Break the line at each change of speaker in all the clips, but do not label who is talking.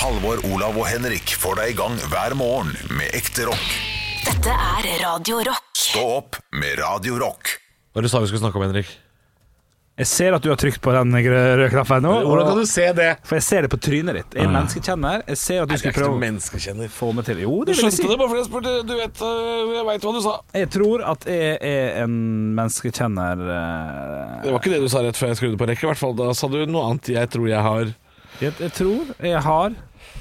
Halvor, Olav og Henrik får deg i gang hver morgen med ekte rock.
Dette er Radio Rock.
Stå opp med Radio Rock.
Hva er det du sa vi skulle snakke om, Henrik?
Jeg ser at du har trykt på den grø- røde knappen nå.
Hvordan kan
og-
du se det?
For jeg ser det på trynet ditt. Jeg er menneskekjenner. Jeg ser at du skulle prøve å
menneskekjenner.
få meg til det. Jo, det vil jeg si.
bare fordi jeg spurte. Du vet, eh, jeg veit hva du sa.
Jeg tror at jeg er en menneskekjenner eh,
Det var ikke det du sa rett før jeg skrudde på rekket. i hvert fall. Da sa du noe annet jeg tror jeg har
jeg, jeg tror jeg har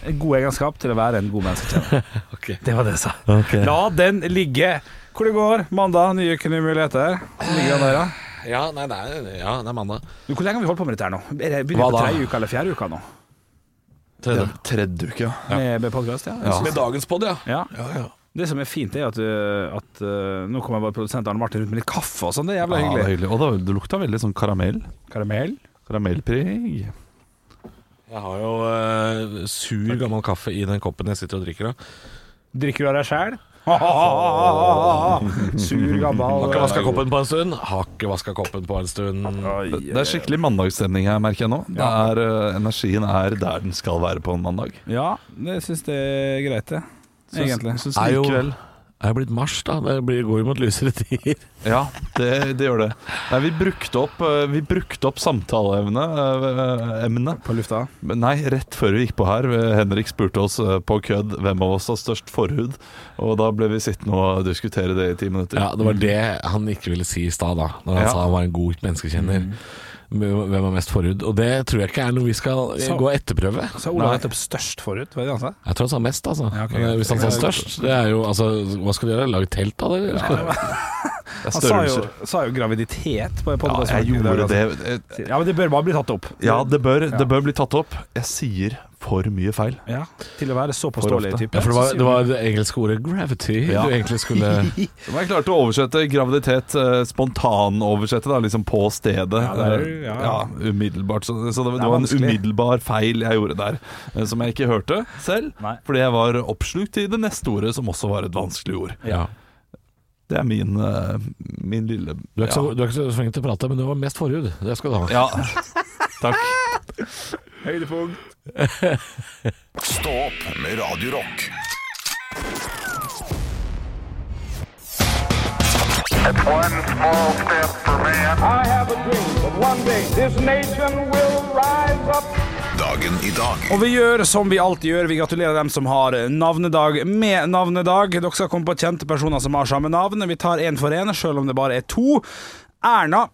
en god egenskap til å være en god menneskekjenner.
Ok.
Det var det jeg sa. La den ligge. Hvor det går. Mandag, nye uker, nye muligheter. Hvor ligger den der, da?
Ja, nei, det er, ja, det er mandag.
Du, Hvor lenge har vi holdt på med dette her nå? Er det-
Hva
Begynner vi på
da?
tredje uka eller fjerde uka nå?
Tredje.
Tredje uke, ja.
Med, med podcast, ja. Jeg
Ja.
synes-
Med dagens pod, ja.
ja.
ja.
Det som er fint, er at, uh, at uh, nå kommer bare produsent Arne Martin rundt med litt kaffe og sånn. Det er jævla
det er
hyggelig.
hyggelig. Og det, det lukta veldig sånn karamell.
Karamell.
Karamellpreg.
Jeg har jo eh, sur, gammel kaffe i den koppen jeg sitter og drikker av.
Drikker du av deg sjæl? Sur, gammel
Har ikke vaska koppen på en stund. Har ikke vaska koppen på en stund.
Det er skikkelig mandagsstemning her, merker jeg nå. Det er, eh, energien er der den skal være på en mandag.
Ja, det syns jeg er greit, det. Egentlig.
Syns
Er jo-
likevel.
Er jo blitt mars, da. Det blir, går jo mot lysere tider.
Ja, det, det gjør det. Nei, vi brukte opp, eh, vi brukte opp samtaleevne eh, emnet.
På lufta.
Men Nei, rett før vi gikk på her, eh, Henrik spurte oss eh, på kødd hvem av oss har størst forhud. Og da ble vi sittende og diskutere det i ti minutter.
Ja, det var det han ikke ville si i stad, da. Når han
Ja.
sa han var en god menneskekjenner. Hvem er mest forhud? Og det tror jeg ikke er noe vi skal eh,
Så-
gå og etterprøve.
Sa Olav nettopp størst forut? Var det det han sa?
Jeg tror han sa mest, altså.
ok,
Men, eh, Hvis han sa størst, det er jo altså Hva skal du gjøre? Lage telt av det? eller?
Det er
Han sa
størrelser.
jo, sa jo graviditet på
Ja,
podkasten.
jeg gjorde
altså.
det. Eh,
Ja, men det bør bare bli tatt opp.
Ja, det bør, det bør bli tatt opp. Jeg sier for mye feil.
Ja, til å være så påståelig
ofte.
type.
Ja, for det var,
Så sier
det var det engelske ordet 'gravity'
Ja.
du egentlig skulle
Men jeg klarte å oversette graviditet, eh, spontanoversette, da, liksom på stedet.
Ja, det er jo- ja.
Ja, umiddelbart. Så, så det,
Det
det,
er
var en
vanskelig.
umiddelbar feil jeg gjorde der, eh, som jeg ikke hørte selv.
Nei.
Fordi jeg var oppslukt i det neste ordet, som også var et vanskelig ord.
ja.
Det er min, eh, min lille
du, er ikke så, du er ikke så flink til å prate, men du var mest forhud. Det skal du ha.
Ja. Takk.
Høydepunkt.
Stå opp med Radio Rock.
One small step for man.
I have a dream that one day this nation will rise up.
Dagen i dag.
Og vi gjør som vi alltid gjør, vi gratulerer dem som har navnedag med navnedag. Dere skal komme på kjente personer som har samme navn. Vi tar én for én, sjøl om det bare er to. Erna.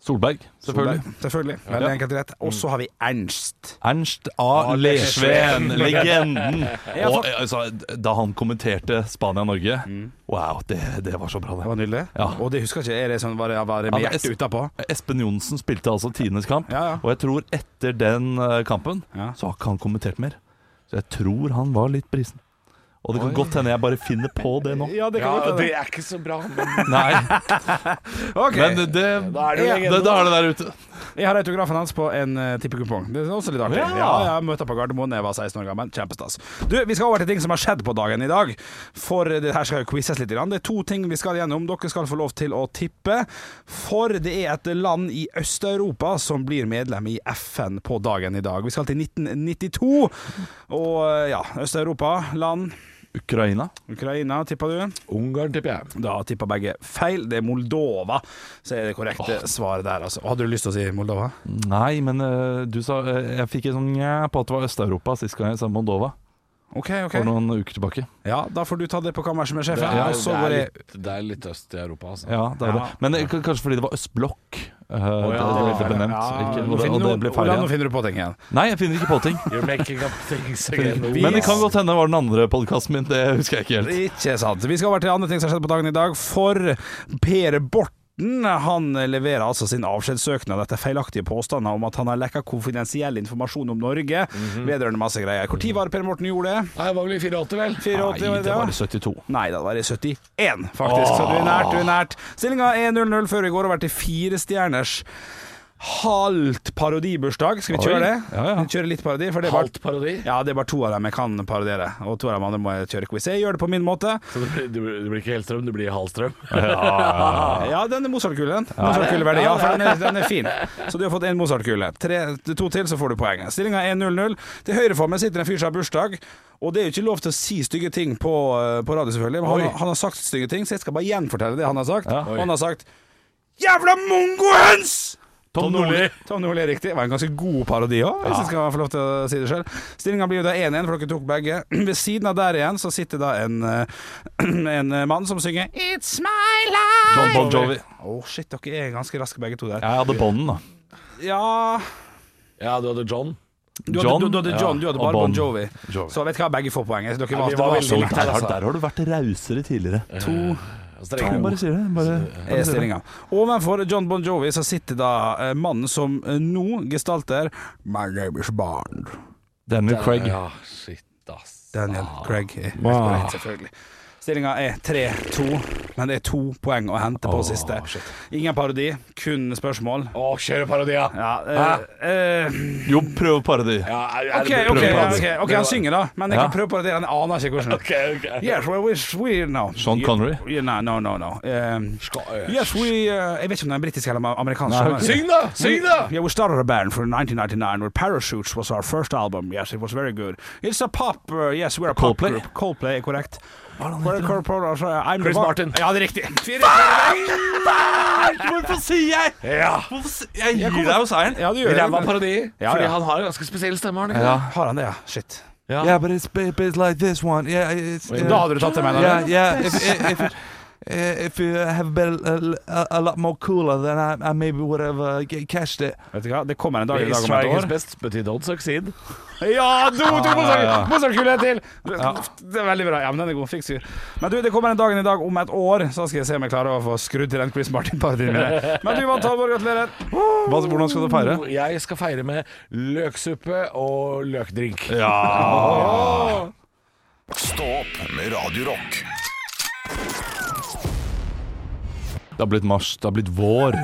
Solberg, selvfølgelig. Mm.
Solberg, Selvfølgelig. Veldig enkelt rett. Og så har vi Ernst.
Ernst A. Lesveen, legenden.
har
Og, altså, da han kommenterte Spania-Norge Wow, det, det var så bra, det.
Det var nydelig.
Ja.
Og det husker jeg ikke. Er det sånn var det, var det med
Ja, det er-
hjertet utapå?
Espen Johnsen spilte altså tidenes kamp,
Ja, ja.
og jeg tror etter den eh, kampen
Ja.
så har ikke han kommentert mer. Så jeg tror han var litt brisen. Og det kan godt hende jeg bare finner på det nå.
Ja, det
er ikke så bra.
Nei, men det, det,
er du legende,
det, da er det der ute.
Jeg har autografen hans på en eh, tippekupong. Det er også litt artig. Ja,
Ja.
ja jeg møtte han på Gardermoen da jeg var 16 år gammel. Kjempestas. Du, vi skal over til ting som har skjedd på dagen i dag. For eh, det her skal jo quizes litt. grann. Det er to ting vi skal gjennom. Dere skal få lov til å tippe. For det er et land i Øst-Europa som blir medlem i FN på dagen i dag. Vi skal til 1992. Og eh, ja, Øst-Europa, land
Ukraina.
Ukraina, tippa du?
Ungarn, tipper jeg.
Da tippa begge feil. Det er Moldova, så er det korrekte svaret der, altså. Hadde du lyst til å si Moldova?
Nei, men eh, du sa eh, Jeg fikk en sånn nja på at det var Øst-Europa sist gang jeg sa Moldova.
OK, OK.
For noen uker tilbake.
Ja, da får du ta det på kammerset med
Det
sjefen.
er,
og så
det
går
er,
jeg
litt, det er litt øst i Europa, altså.
Ja, det er
Ja.
det. Men eh, k- kanskje fordi det var østblokk. eh, det, det ble
Ja,
benevnt. Ikke,
nå
og, det,
finner
og det
du-
ble feil
Ola, Nå
igjen.
finner du på ting igjen.
Nei, jeg finner ikke på ting.
You're making up things
Men det kan godt hende det var den andre podkasten min. Det husker jeg ikke helt.
Ikke sant. Vi skal over til andre ting som har skjedd på dagen i dag. For Per Borten han leverer altså sin avskjedssøknad etter feilaktige påstander om at han har lekka konfidensiell informasjon om Norge
Mhm.
vedrørende masse greier. Når var det Per Morten gjorde det?
Nei, det var vel i 84, vel?
84
Nei,
var det,
det
ja?
var i 72.
Nei, da var det 71, faktisk. Så du er nært, du er nært. Stillinga er 0-0 før vi går over til firestjerners. halvt parodibursdag. Skal vi
Oi.
kjøre det?
Ja, ja.
Vi kjører litt parodi. For det er bare,
Halvt parodi.
ja, det er bare to av dem jeg kan parodiere, og to av dem andre må jeg kjøre quiz. Jeg gjør det på min måte.
Så det blir, det blir- det blir ikke Hellstrøm, det blir Hallstrøm.
Ja, den er Mozart-kule. den. Mozart-kuleverdi, ja, for den er, den er fin. Så du har fått en Mozart-kule. Tre- To til, så får du poenget. Stillinga er 1-0-0. Til høyre for meg sitter en fyr som har bursdag. Og det er jo ikke lov til å si stygge ting på, på radio, selvfølgelig. Men han, han har sagt stygge ting, så jeg skal bare gjenfortelle det han har sagt.
Ja.
Og han har sagt 'jævla mongohøns'!
Tom Nordli!
Tom Nordli er riktig. Det var en ganske god parodi òg, hvis jeg skal få lov til å si det sjøl. Stillinga blir jo da 1-1, for dere tok begge. Ved siden av der igjen så sitter da en, eh, en mann som synger It's my life.
John Bon Jovi.
Å, shit, dere er ganske raske begge to der.
Jeg hadde bånden, da.
Ja
Ja, du hadde John.
Du hadde
John?
John, du hadde, John, du
Ja,
hadde
og
bare Bon
Bon
Jovi.
Jovi.
Så vet ikke hva, begge får poenget. Så
Ja,
dere var,
vi
det
var
var
veldig
så
likt
langt
her,
her, altså.
Der har du vært rausere tidligere.
To eh,
Altså, det er
Bare sier det. Bare,
er stillinga. Ovenfor John Bon Jovi så sitter da eh, mannen som eh, nå gestalter My name is Bond.
Daniel Craig.
Ja, shit, ass.
Daniel Craig er mest korrekt, selvfølgelig. Stillinga er 3-2, men det er to poeng å hente på siste. Ingen parodi, kun spørsmål.
Å, kjøre parodia!
Ja,
Hæ?
eh, eh,
Jo, prøv parodi.
Ja, er, er
OK,
det
ok,
prøve på
ja,
det?
ok, ok, han synger, da. Men jeg kan prøve på det. Han aner ikke hvordan.
Ok, ok.
Yes, well, we, we no.
Sean Connery.
Yeah, no, no, no, no. Um,
Skal-
yes, we uh, Jeg vet ikke om det er en britisk eller amer- amerikansk.
Nei,
men-
ok.
Syng, da! Syng, da!
Yeah, we started a band from 1999 where Parachutes was our first album. Yes, it was very good. It's a pop uh, Yes, we're a pop
Coldplay?
group. Coldplay er korrekt. We're a corporate- uh, I'm the
Chris
vo-
Martin.
Ja, det er riktig. Fire-
Hvorfor sier jeg
Ja!
Jeg gir deg jo seieren.
Ja, du gjør det.
Ræva parodi,
Ja,
fordi
ja.
han har en ganske spesiell stemme. har han ikke
Ja.
det?
Har han det, ja? Shit.
Ja.
Yeah, but it's, but it's like this one. Yeah, it's, uh,
Da hadde du tatt det med deg.
Yeah, yeah. If, if, if, if you have been a, a lot more cooler, then I, I maybe would have uh, g- cashed it.
Vet du hva, det kommer en dag i dag
Is
om
trying his
et år.
best, but he don't succeed. Ah,
Ja, do, do,
ja.
Mozart-kule til! Det er veldig bra. Ja, men den er god. Fikk sur. Men du, det kommer en dag i dag om et år, så skal jeg se om jeg klarer å få skrudd til den Chris Martin-parodien min. Men du vant, Halvor. Gratulerer.
Hvordan skal du feire?
Jeg skal feire med løksuppe og løkdrink.
Stå opp med Radio Rock.
Det har blitt mars. Det har blitt vår.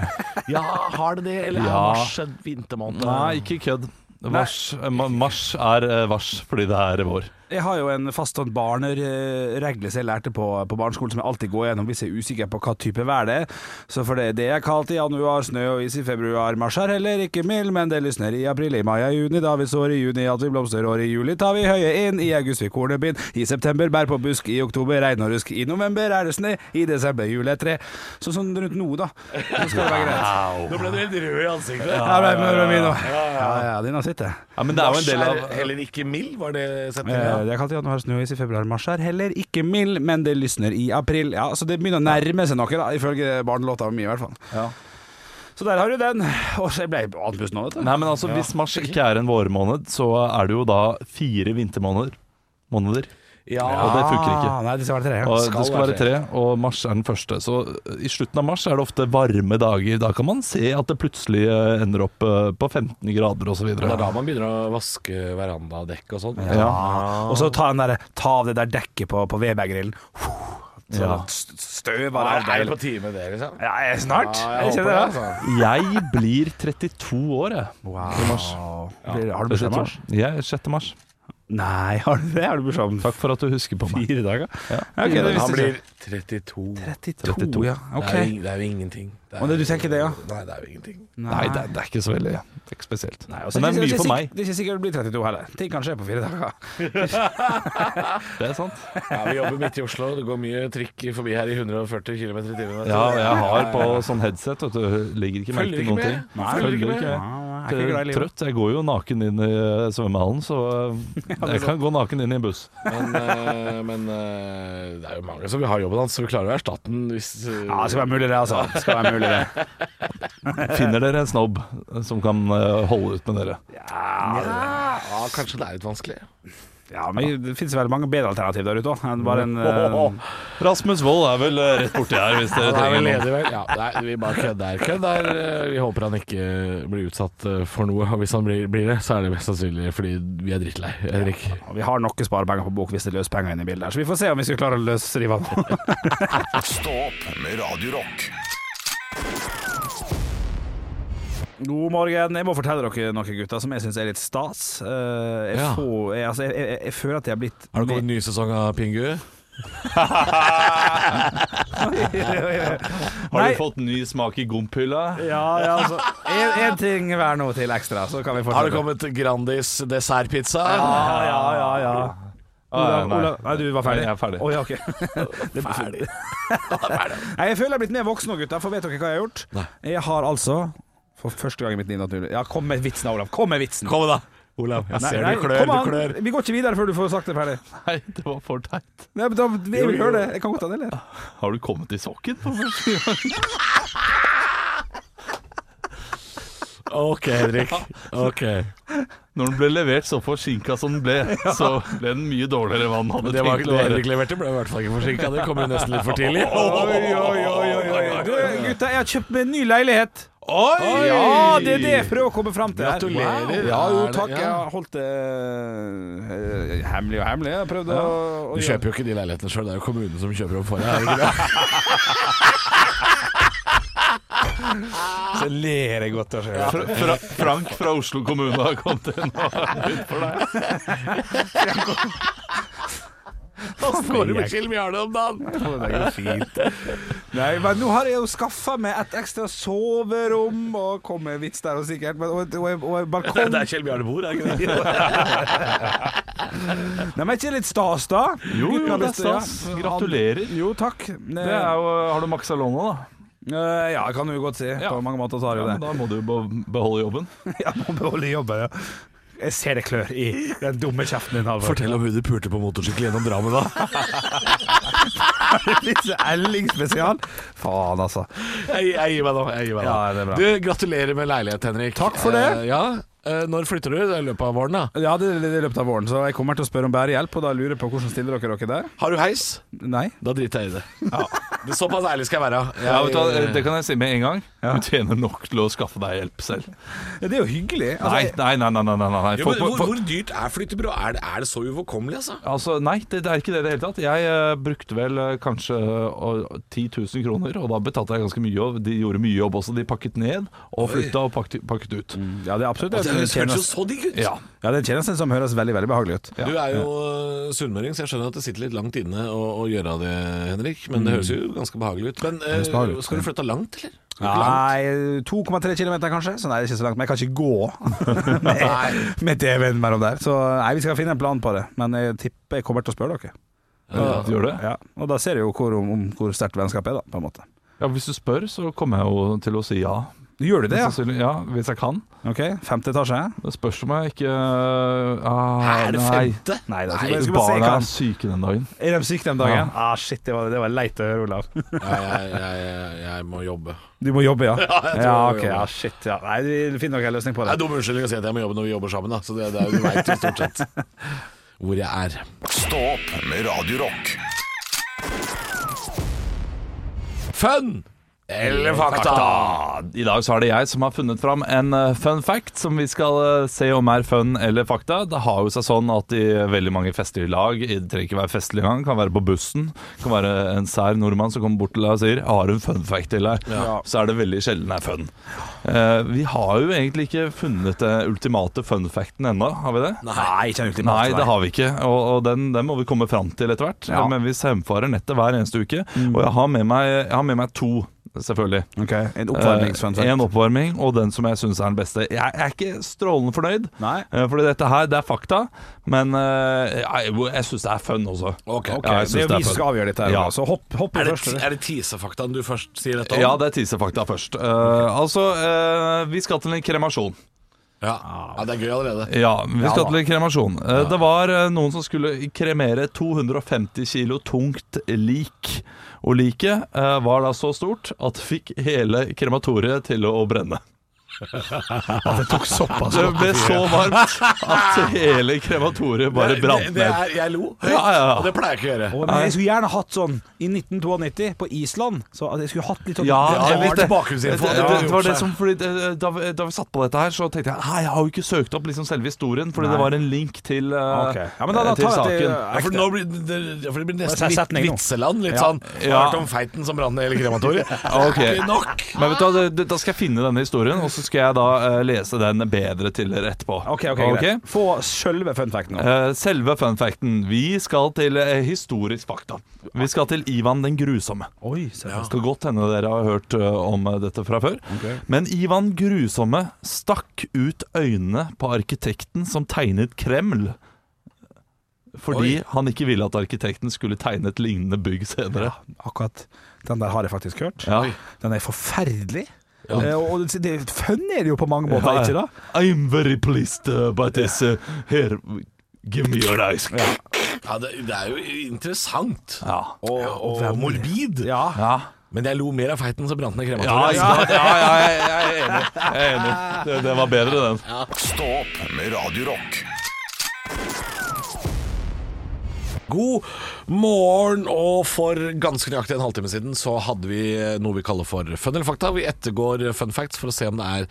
Ja, har det det? Eller
Ja.
er mars en vintermåned?
Nei, ikke kødd. Vars, ma- mars er eh, vars fordi det er vår.
Jeg har jo en fast sånn barneregle som jeg lærte på, på barneskolen, som jeg alltid går gjennom hvis jeg er usikker på hva type vær det er. Så for det, det er kaldt i januar, snø og is i februar, mars er heller ikke mild, men det lysner i april, i mai og juni, da vi sår i juni, at vi blomstrer år i juli, tar vi høye inn, i august vi kornebind, i september bær på busk, i oktober regn og rusk, i november er det snø, i desember juletre. Så sånn rundt nå, da. Så skal det være greit.
Nå ble du helt rød i ansiktet.
Ja, men, men, men, men, ja, ja, dine sitter.
Ja, men det er jo en
Mars
del av
er heller ikke mild, var det
Eh,
setningen?
Det er kaldt i januar, snø og is i februar, mars er heller ikke mild, men det lysner i april. Ja, så det begynner å nærme seg noe, da, ifølge barnelåta mi i hvert fall. Så der har du den. Og så jeg ble andpusten nå, vet du.
Nei, men altså, Hvis mars ikke er en vårmåned, så er det jo da fire vintermåneder. Måneder.
Ja.
Og det funker ikke.
Ah, nei, det skal være tre.
Og
Ja.
det skal være tre, og mars er den første. Så eh, i slutten av mars er det ofte varme dager. Da kan man se at det plutselig eh, ender opp eh, på 15 grader osv.
Det er da man begynner å vaske verandadekk og sånn.
Ja.
Og så ta, den der, ta av det der dekket på, på Weber-grillen. Så
Ja.
st- støv
Er
av det.
er det
alt der.
på tide med det, liksom?
Ja, jeg er snart.
Ja,
jeg kjenner det.
altså.
Jeg blir 32 år, jeg.
Wow. Blir- Har du bursdag i
32.
mars?
Jeg er 6. mars.
Nei, har du det? Har du bursdag om
Takk for at du husker på meg.
fire dager?
Ja.
Ok, det
Han
visste
blir
jeg
32.
32, ja. Ok.
Det, er, ing- det er jo ingenting. Det er,
Å, det du tenker det, ja.
Nei, det er jo ingenting.
Nei, det er, det er ikke så veldig det er ikke spesielt.
Og så
Men
ikke-
det er mye
ikke
for
sikk-
meg.
Det er ikke sikkert det blir 32 heller. Ting kan skje på fire dager.
Det er sant.
Ja, vi jobber midt i Oslo, det går mye trikk forbi her i 140 km i timen. vet du.
Ja, og jeg har på sånn headset, vet du. Legger ikke merke
Følger
til
ikke
noen
med.
ting.
Nei, følger ikke med.
Nei, jeg er ikke glad i
Jeg er
livet.
trøtt. Jeg går jo naken inn i eh, svømmehallen, så eh, jeg kan gå naken inn i en buss.
Men, eh, men eh, det er jo mange som vil ha jobben hans, så vi klarer å erstatte den hvis eh,
Ja, det skal være mulig det, altså. Det skal være mulig det.
Finner dere en snobb som kan eh, holde ut med dere?
ja, Kanskje det er litt vanskelig.
Ja, men det finnes veldig mange bedre alternativ der ute òg, enn bare en eh,
Åh, Rasmus Wold er vel eh, rett borti her, hvis dere
Han er vel
trenger noe.
ledig, vel? Ja, nei, vi bare kødder. kødder. Eh, Vi håper han ikke blir utsatt eh, for noe. Og hvis han blir, blir det, så er det mest sannsynlig fordi vi er drittlei, Henrik.
Vi har nok sparepenger på bok hvis det løser penger inn i bildet her, så vi får se om vi skal klare å løse riva nå.
Stå opp med Radio Rock.
God morgen. Jeg må fortelle dere noe, gutter, som jeg syns er litt stas. Eh, Jeg,
Ja.
får, jeg, altså, jeg, jeg, jeg føler at jeg har blitt
Er det kommet en ny sesong av Pingu?
Har
Nei.
du fått ny smak i gomphylla?
Ja, ja, altså. En, en ting hver nå til ekstra, så kan vi
Har det
fortsette.
kommet Grandis dessertpizza?
Ja, Ah, ja, ja, ja.
Ah,
Olav,
nei.
Olav, nei, du var ferdig?
Nei, jeg er ferdig.
Å, ja, ok. Det er ferdig. Nei, jeg føler jeg er blitt mer voksen nå, gutta, for vet dere hva jeg har gjort?
Nei.
Jeg har altså, for første gang i mitt liv naturlig Ja, kom med vitsen, Olav. Kom med vitsen.
Kom da, Olav. Jeg
Nei,
ser
nei,
du klør,
kom an.
du klør.
Vi går ikke videre før du får sagt det ferdig.
Nei, det var for teit.
Nei, men da, jeg vil høre det. Jeg kan godt ta det, eller?
Har du kommet i sokken for første gang?
Ok, Henrik. Ok.
Når den ble levert så forsinka som den ble, så ble den mye dårligere enn hva den hadde
Men det var ikke
tenkt å
det
være.
Henrik leverte, ble i hvert fall ikke forsinka. Det kommer jo nesten litt for tidlig.
Du, gutta, jeg har kjøpt meg en ny leilighet.
Oi!
Ja, det er det jeg prøver å komme fram til. her.
Gratulerer.
Wow. Ja, jo,
Er det-
takk.
ja.
Jeg har holdt det eh, hemmelig og hemmelig. Jeg prøvde å
Du kjøper jo ikke de leilighetene sjøl, det er jo kommunen som kjøper opp for deg. er det ikke det?
Så ler jeg godt av sjøl.
Fra, fra, Frank fra Oslo kommune har kommet inn og ut for deg.
Han går jo med Skilmiarne om dagen.
Det går fint. Nei, men nå har jeg jo skaffa meg et ekstra soverom, og kom med vits der og sikkert, men, og, og, og, og balkong Nei,
Kjell Bjarne bor, er ikke det?
men er ikke det litt stas, da?
Jo,
Gutten
jo,
har
det er
lyst til- ja.
stas. Gratulerer.
Jo, takk.
Det er jo, har du maksa lånet, da?
Eh, ja, kan du godt si. På mange måter så har jeg jo
Ja, men
det.
da må du jo be- beholde jobben.
Jeg må beholde jobben, ja. Jeg ser det klør i den dumme kjeften din, Halvor.
Fortell om hun du pulte på motorsykkel gjennom Drammen, da.
Litt Elling-spesial. Faen, altså.
Jeg, jeg gir meg nå. Jeg gir meg nå.
Ja, det er bra.
Du, gratulerer med leilighet, Henrik. Takk
for det.
ja. eh, Når flytter du? Det er i løpet av våren, da.
Ja, det det er i løpet av våren, så jeg kommer til å spørre om bærehjelp, og da lurer jeg på hvordan stiller dere dere der?
Har du heis?
Nei?
Da driter jeg i det. Det er Såpass ærlig skal jeg være.
Ja, vet du, hva,
Jeg-
det kan jeg si med en gang. Du tjener nok til å skaffe deg hjelp selv.
Ja, det er jo hyggelig.
Nei,
Altså,
nei, nei. nei, nei, nei, nei.
Jo,
Folk
men
må-
hvor,
folk-
hvor dyrt er flyttebyrå? Er, det- er det så uoverkommelig, altså?
Altså, nei, det, det er ikke det i det hele tatt. Jeg eh, brukte vel eh, kanskje eh, 10 000 kroner, og da betalte jeg ganske mye. Og de gjorde mye jobb også. De pakket ned og flytta og pakket, pakket ut.
Ja, det er absolutt
Det
det.
høres
tjener-
jo så digg ut.
Ja.
Ja, det er en tjeneste som høres veldig, veldig behagelig ut.
Du er jo eh, sunnmøring, så jeg skjønner at det sitter litt langt inne å, å gjøre det, Henrik. Men det høres
Mm.
jo ganske behagelig ut. Men eh,
høres behagelig ut,
skal du flytte langt, eller?
Nei, 2,3 km kanskje, så nei, det er ikke så langt. Men jeg kan ikke gå med, med TV-en mellom der. Så nei, vi skal finne en plan på det. Men jeg tipper jeg kommer til å spørre dere.
Ja, du gjør det?
Ja, og da ser jeg jo hvor, om, om hvor sterkt vennskapet er, da, på en måte.
Ja, Hvis du spør, så kommer jeg jo til å si ja.
Gjør du det,
Ja.
ja?
ja hvis jeg kan.
Ok, femte etasje?
Det spørs om jeg ikke ah,
Hæ, er det
nei.
femte?
Nei, da
Nei,
skal vi- skal vi bare se
Barna
hva-
er syke den dagen.
Er de syke den dagen? Ah, shit, det var, det var leit å høre, Olav.
Nei, jeg, jeg, jeg, jeg må jobbe.
Du må jobbe, ja?
Ja, jeg tror
ja,
jeg må
ok,
jobbe.
ja shit, ja. Nei, vi finner nok en løsning på
Det
det.
er dum unnskyldning å si at jeg må jobbe når vi jobber sammen, da. Så det, det er, du veit jo stort sett hvor jeg er.
Stå opp med Radio Rock.
Fun eller fakta?
I dag så er det jeg som har funnet fram en eh, fun fact som vi skal eh, se om er fun eller fakta. Det har jo seg sånn at i veldig mange festlige lag, i- det trenger ikke være festlig engang, kan være på bussen, kan være en sær nordmann som kommer bort til deg og sier 'har du en fun fact til deg', så er det veldig sjelden det er fun. Eh, vi har jo egentlig ikke funnet den ultimate fun facten ennå, har vi det?
Nei, ikke en ultimat.
Nei, det har vi ikke, og, og den, den må vi komme fram til etter hvert.
Ja. Mm.
Men vi semfarer nettet hver eneste uke, og jeg har med meg, jeg har med meg to, selvfølgelig.
Ok, En
Eh,
oppvarmingsfunfact.
En oppvarming, og den som jeg syns er den beste. Jeg er ikke strålende fornøyd,
Nei.
eh, fordi dette her det er fakta, men eh, jeg, jeg syns det er fun også.
Ok.
Ok,
Ja, jeg
det
synes
er jo
det
vi
er
som skal avgjøre dette, her,
Ja.
Olav, så hopp, hopp
Er det,
først.
ti- er det tisefaktaen du først sier dette om?
Ja, det er tisefakta først. Eh, Altså, eh, vi skal til en kremasjon.
Ja. Ja, det er gøy allerede.
Ja, vi skal
da.
til en kremasjon. Eh, Det var eh, noen som skulle kremere 250 kilo tungt lik. Og liket eh, var da så stort at det fikk hele krematoriet til å brenne.
det tok såpass
Det ble så varmt at hele krematoriet bare
Det-
brant
det- det
ned.
er- Jeg lo høyt,
Ja, ja, ja.
og det pleier jeg ikke å gjøre.
men jeg skulle gjerne hatt sånn i 1992 på Island. Så at jeg skulle hatt litt sånn
Ja,
Det har
jeg vet det.
vært bakgrunnsinfo. Det
Det,
har
det, det var
gjort seg.
det som, fordi, eh, da, vi- da vi satt på dette her, så tenkte jeg Hei, jeg har jo ikke søkt opp liksom selve historien, fordi det var en link til, eh,
Ok. Ja, men da- da
til
tar jeg til-
saken.
Ja, for nå blir det, ja, for det blir
Det er
nesten
en setning
litt
nå.
vitseland. Litt
Ja.
sånn Har
Ja.
Hørt om feiten som brant ned hele krematoriet?
Ok.
Ikke nok!
Ah.
Men vet du, hva, det- det- Da skal jeg finne denne historien, og så skal jeg da eh, lese den bedre til dere etterpå.
OK, ok, greit. Få sjølve fun facten nå.
Eh, Selve fun facten. Vi skal til eh, historisk fakta. Vi skal til Ivan den grusomme.
Oi,
Det skal godt hende dere har hørt ø, om ø, dette fra før. Men Ivan Grusomme stakk ut øynene på arkitekten som tegnet Kreml. Fordi han ikke ville at arkitekten skulle tegne et lignende bygg senere.
Akkurat den der har jeg faktisk hørt.
Ja.
Den er forferdelig. Eh, og det, det, fun er det jo på mange måter, ikke da?
I'm very pleased uh, by this. Uh, here, give me your eyes. Ja.
Ja, det, det er jo interessant.
Ja.
Og, og, morbid.
Ja.
Ja.
Men jeg lo mer av feiten som brant ned
Ja,
krematoriet. Altså,
ja, jeg, jeg er enig. Jeg er enig. Det, det var bedre, den.
Stå opp med Radio Rock.
God morgen, og for ganske nøyaktig en halvtime siden så hadde vi noe vi kaller for fun eller fakta. Vi ettergår fun facts for å se om det er,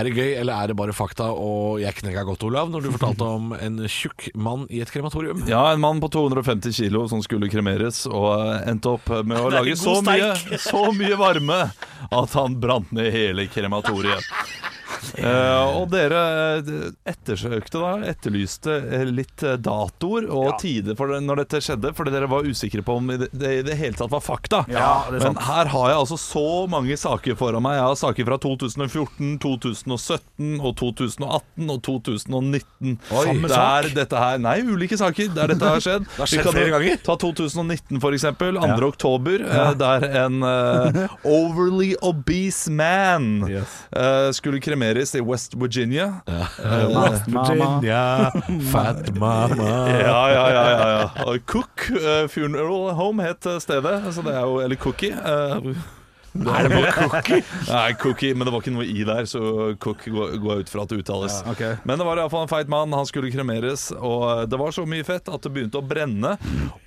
er det gøy eller er det bare fakta. Og jeg knekka godt, Olav, når du fortalte om en tjukk mann i et krematorium.
Ja, en mann på 250 kilo som skulle kremeres og eh, endte opp med å lage så mye, så mye varme at han brant ned hele krematoriet. Eh, og dere eh, ettersøkte da, etterlyste eh, litt eh, datoer og tider for det, når dette skjedde, fordi dere var usikre på om det det i det hele tatt var fakta.
Ja, det er sant.
Men her har jeg altså så mange saker foran meg. Jeg har saker fra 2014, 2017 og 2018 og 2019.
Samme
det
sak?
er dette her Nei, ulike saker der dette har skjedd.
har skjedd flere ganger.
Ta 2019 for eksempel. 2. oktober, eh, der en eh, overly obese man
Yes.
eh, skulle kremeres i West Virginia. Eh,
Mama.
Fat mama.
Ja, ja, ja, ja, ja. Og Cook eh, Funeral Home het eh, stedet, så det er jo Eller Cookie. er det bare Cookie? Nei, Cookie, men det var ikke noe i der, så Cook går går jeg ut fra at det uttales.
Ja, ok.
Men det var iallfall en feit mann. Han skulle kremeres, og eh, det var så mye fett at det begynte å brenne.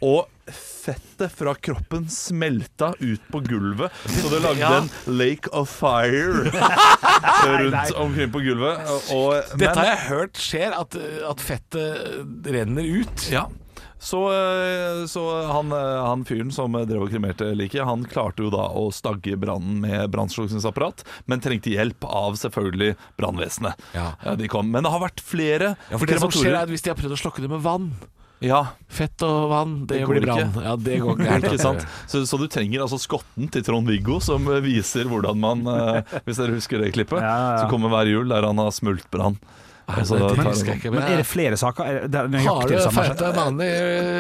Og fettet fra kroppen smelta ut på gulvet, så det lagde en lake of fire rundt omkring på gulvet. Og, men-
Dette har jeg hørt skjer, at, at fettet renner ut.
ja. Så, eh, så han, eh, han fyren som drev og kremerte liket, han klarte jo da å stagge brannen med brannslukningsapparat, men trengte hjelp av selvfølgelig brannvesenet.
Ja.
Eh, De kom. Men det har vært flere
Ja, for det som skjer
krematorer-
er at Hvis de har prøvd å slokke det med vann,
ja,
fett og vann, det,
Det
går i
går
brann.
ikke.
Ja, det går ikke.
ikke sant? Så, så du trenger altså skotten til Trond-Viggo, som eh, viser hvordan man eh, Hvis dere husker det klippet,
Ja, ja.
som kommer hver jul, der han har smultbrann. Og så
Ah, det
tar han-
husker jeg ikke.
Men
Men
er det flere saker? Er det- det er
har
nøyaktig
du
det samme som har skjedd?
feite mann i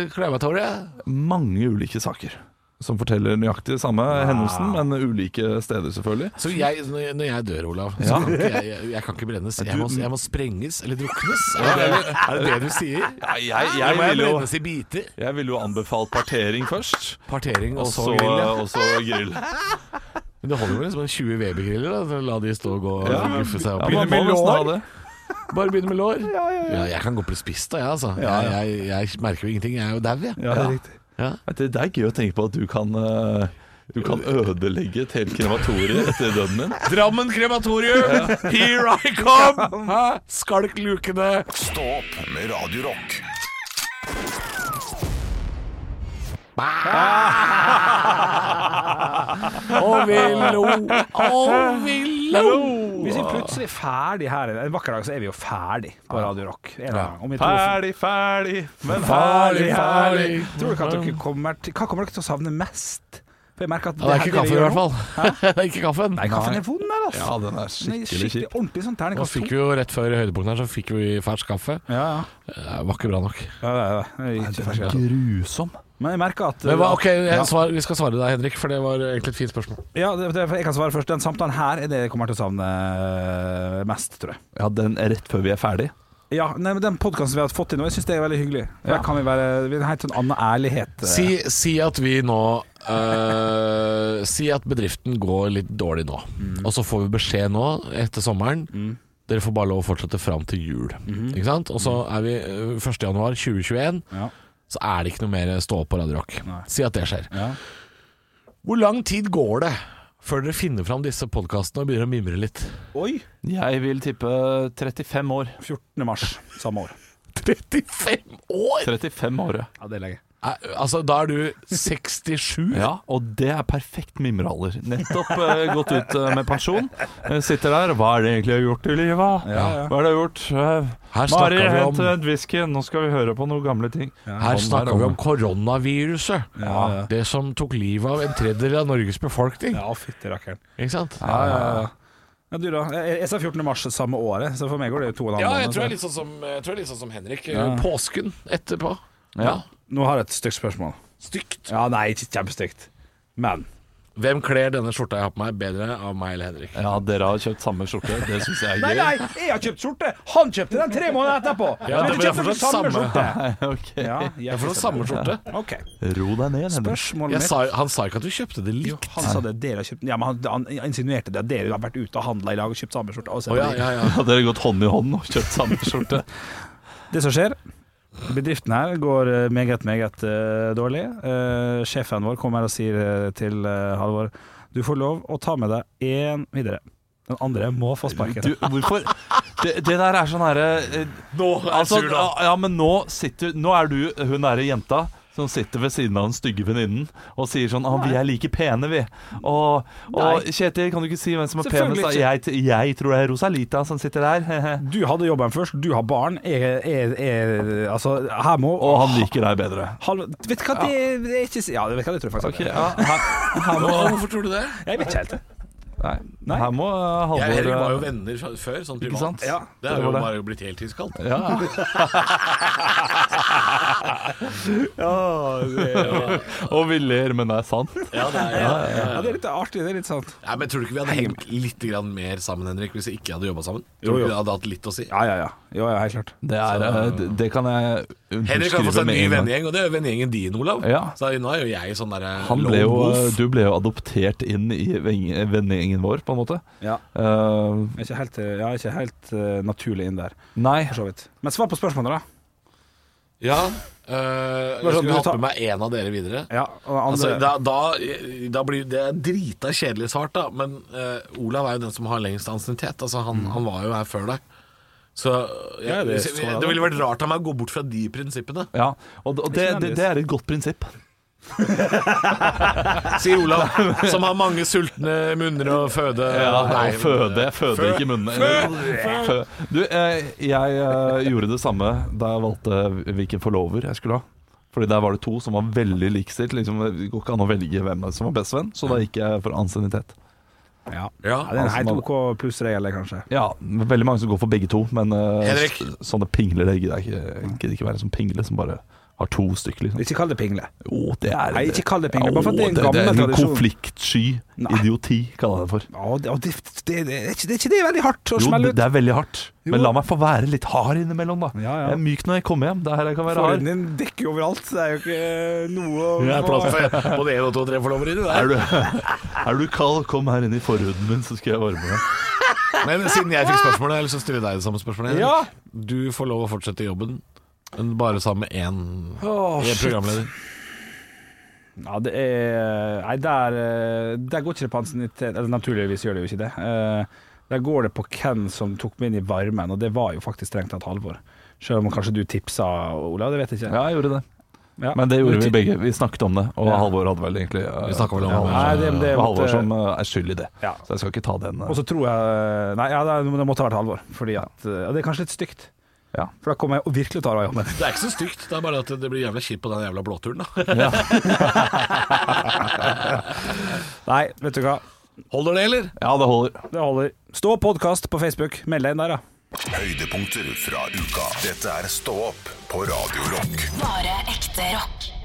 krematoriet?
mange ulike saker som forteller nøyaktig det samme hendelsen, men ulike steder, selvfølgelig.
Så jeg, når når jeg dør, Olav, så
Ja.
kan ikke jeg, jeg, jeg kan ikke brennes. Jeg må, jeg må sprenges eller druknes. Er det er det det du sier?
Ja, jeg,
Da
jeg,
må jeg
ville jo,
brennes i biter.
jeg ville jo anbefalt partering først.
Partering og
Og
så
så
grill. ja.
og så grill.
Men det holder vel liksom en 20 Weber-griller? da, så La de stå og gå og
Ja.
guffe seg
Ja,
opp.
man må nesten ha det.
Bare begynne med lår. Ja, jeg kan gå på det spist, da, jeg, altså. Jeg, jeg, jeg merker jo ingenting. Jeg er jo dau, jeg.
Ja, det er riktig.
Ja.
Vet du, Det er gøy å tenke på at du kan eh, du kan ødelegge et helt krematorie etter døden din.
Drammen krematorium, here I come! Hæ? Skalk lukene.
Stå opp med Radio Rock.
Og vi lo, og vi lo.
Hvis vi plutselig er ferdig her en vakker dag, så er vi jo ferdig på Radio Rock. En eller annen gang. Om vi to-
Ferdig, ferdig, men
Ferdig, ferdig.
Tror dere at dere kommer til, hva kommer dere til å savne mest? For jeg merker
Ja,
at
det er
her-
ikke
vi
kaffen, i
gjør
hvert
nå-
fall. Det er ikke kaffen.
Nei, kaffen er vond der, altså.
Ja,
Den
den er
er
skikkelig kjip.
ordentlig sånn
Nå
terningkast
fikk
to.
vi jo Rett før høydepunktet her så fikk vi fersk kaffe.
Ja, ja.
Det var ikke bra nok.
ja, ja, ja. Det er ikke fersk, altså.
Grusom.
Men jeg merker at eh,
Men hva, ok,
ja.
jeg svar, Vi skal svare deg, Henrik, for det var egentlig et fint spørsmål.
Ja, det, det, jeg kan svare først. Den samtalen her er det jeg kommer til å savne mest, tror jeg.
Ja, den er rett før vi er ferdig.
Ja, nei, men Den podkasten vi har fått til nå, jeg syns det er veldig hyggelig. Der kan vi være vi har en helt sånn annen ærlighet. eh.
Si, si at vi nå eh, Si at bedriften går litt dårlig nå.
Mm.
Og så får vi beskjed nå etter sommeren. Dere får bare lov å fortsette fram til jul. Ikke sant? Og så er vi eh, 1. januar 2021
Mm-hmm. Ja.
Så er det ikke noe mer stå opp på Radio Rock.
Nei.
Si at det skjer.
Ja.
Hvor lang tid går det før dere finner fram disse podkastene og begynner å mimre litt?
Oi!
Jeg vil tippe 35 år.
14. mars samme år.
35 år!
35 år, ja.
Ja, det er lenge.
Er, altså, da er du 67?
Ja, og det er perfekt mimrealder. Nettopp eh, gått ut eh, med pensjon. Eh, sitter der. Hva er det egentlig jeg har gjort i livet? Hva er det jeg har gjort? Eh,
Her snakker
Mari,
vi om-
hent en whisky. Nå skal vi høre på noen gamle ting.
Her
Sånn
snakker
er
vi
det.
om koronaviruset. Det som tok livet av en tredjedel av Norges befolkning.
Ja, fytti rakkeren.
Ikke sant?
Ja, ja, ja. Ja, du da? Jeg, jeg sa 14. mars samme året, så for meg går det jo to og en halv
Ja, jeg
måned,
tror jeg
så-
er litt sånn som, jeg tror jeg er litt sånn som Henrik. Påsken etterpå.
Ja.
Nå har jeg et stygt spørsmål.
Stygt.
Ja, nei, ikke kjempestygt. Men
Hvem kler denne skjorta jeg har på meg, bedre av meg eller Henrik?
Ja, dere har kjøpt samme skjorte. Det syns jeg
Nei,
er gøy.
nei, jeg har kjøpt skjorte! Han kjøpte den tre måneder etterpå!
Ja, det
men du
blir
kjøpte
fortsatt samme.
samme skjorte!
Ok.
Ja,
Jeg får den samme skjorte.
OK.
Ro deg ned, Henrik.
Spørsmålet
Jeg
mitt
sa, han sa ikke at vi kjøpte det
Jo,
likt.
han sa det, dere har kjøpt Ja, men han, han insinuerte det. at Dere har vært ute og handla i lag og kjøpt samme skjorte. Og så-
Å, ja, ja, ja.
Hadde dere gått hånd i hånd og kjøpt samme skjorte?
Det som skjer Bedriften her går eh, meget, meget eh, dårlig. Eh, sjefen vår kommer her og sier eh, til eh, Halvor Du får lov å ta med deg én videre. Den andre må få sparken.
Du, hvorfor? Det, det der er sånn herre eh,
Nå
altså, ja, ja, men nå sitter Nå er du hun derre jenta som sitter ved siden av den stygge venninnen og sier sånn 'Å, vi er like pene, vi'. Og, og Kjetil, kan du ikke si hvem som er penest?
Selvfølgelig
da? Jeg, t- jeg tror det er Rosalita som sitter der.
Du hadde jobben først, du har barn. Jeg, jeg, jeg, altså, her må
Og han liker deg bedre.
Halvor Vet du hva, det, det er ikke Ja, vet du hva, det tror jeg faktisk
Ok,
han gjør.
ja, her, her må,
Hvorfor tror du det?
Jeg vet ikke helt. det.
nei, her må eh,
Jeg og Henrik var jo
Halvor eh,
venner fra- før, sånn
Ikke sant?
privat.
Ja.
Det er jo
Det var det.
bare blitt helt iskaldt.
Ja. Og vi ler, men det er sant.
Ja, det er, ja, ja.
Ja, det er litt artig, det er litt sant.
Nei, men tror du ikke vi hadde hengt litt grann mer sammen, Henrik, hvis vi ikke hadde jobba sammen? Tror
Jo,
du
jo.
ikke det hadde hatt litt å si?
Ja, ja, ja. Jo, ja, helt klart.
Det, er, eh, det, det kan jeg
Henrik har fått
underskrive
seg en ny
med en gang.
vennegjeng, og det er jo vennegjengen din, Olav.
Ja.
Så nå er jo jeg sånn derre
Han ble jo, eh, du ble jo adoptert inn i veng- vennegjengen vår, på en måte.
Ja.
Eh,
Jeg er ikke helt, eh, ja, jeg er ikke helt eh, naturlig inn der,
nei,
for så vidt. Men svar på spørsmålet, da.
Ja. øh,
Bare sånn,
jeg skulle
du
hatt
tar- eh,
med meg en av dere videre.
Ja, og den andre
Altså, da, da, da blir det drita kjedelig svart, da. Men øh, Olav er jo den som har lengst ansiennitet. Altså, han, han var jo her før deg. Så jeg,
Ja, det
hvis
så
jeg,
jeg
det
da.
ville vært rart av meg å gå bort fra de prinsippene,
ja. Og, og det,
Ikke
det,
nødvendigvis.
det er et godt prinsipp.
sier Olav, som har mange sultne munner å føde.
Ja,
Nei,
og Eh, føde, føde ikke munnen. Fø. Du, eh, jeg eh, gjorde det samme da jeg valgte hvilken forlover jeg skulle ha. Fordi der var det to som var veldig likestilt. Liksom, det går ikke an å velge hvem som var bestevenn, så da
Mm.
gikk jeg for ansiennitet.
Ja.
Ja.
Ja, det er en
Altså,
helt
man-
OK plussregel, det, kanskje.
Ja, veldig mange som går for begge to, men eh,
Henrik.
s- sånne pingler det gidder jeg ikke. Jeg gidder ikke være som pingle som bare har to stykker, liksom.
Ikke kall det pingle.
Jo, det er
Nei, ikke kall det pingle, bare for at det er en
Jo,
gammel
det er
tradisjon.
Konfliktsky
Nei.
idioti, kaller jeg det for.
Å, det, å, det, det, det, er ikke, det er ikke det veldig hardt å
Jo,
smelle
det,
ut?
det er veldig hardt, men
Jo.
la meg få være litt hard innimellom, da.
Ja, ja.
Jeg er myk når jeg kommer hjem. Det er her jeg kan være
Forhuden
hard.
din dekker jo overalt. Det er jo ikke noe å-
Det er plass for både én og to og tre forlovere inni der.
Er du, er du kald, kom her inn i forhuden min, så skal jeg varme deg.
Men siden jeg fikk spørsmålet, jeg har lyst til å stille deg det samme spørsmålet. Henrik.
Ja.
Du får lov å fortsette jobben, men bare sammen med én
Åh,
én programleder.
Ja, det er Nei, der, eh, der går ikke det på ansiennitet Eller naturligvis gjør det jo ikke det. Eh, Der går det på hvem som tok meg inn i varmen, og det var jo faktisk strengt tatt Halvor. Selv om kanskje du tipsa Olav, det vet jeg ikke.
Ja, jeg gjorde det.
Ja.
Men det gjorde vi begge. Vi snakket om det, og Halvor hadde vel egentlig
Vi snakket vel om det.
Nei, det, det,
Det var Halvor
måtte-
som eh, er skyld i det,
Ja.
så jeg skal ikke ta den. eh.
Og så tror jeg Nei, ja, det det måtte ha vært Halvor. Fordi at ja, Det er kanskje litt stygt.
Ja.
For da kommer jeg og virkelig tar av jobben.
Det er ikke så stygt, det er bare at det blir jævla kjipt på den jævla blåturen. da
Nei, vet du hva.
Holder det, eller?
Ja, det holder.
Det holder. Stå podkast på Facebook. Meld deg inn der, da.
Høydepunkter fra uka. Dette er Stå opp på Radio Rock.
Bare ekte rock.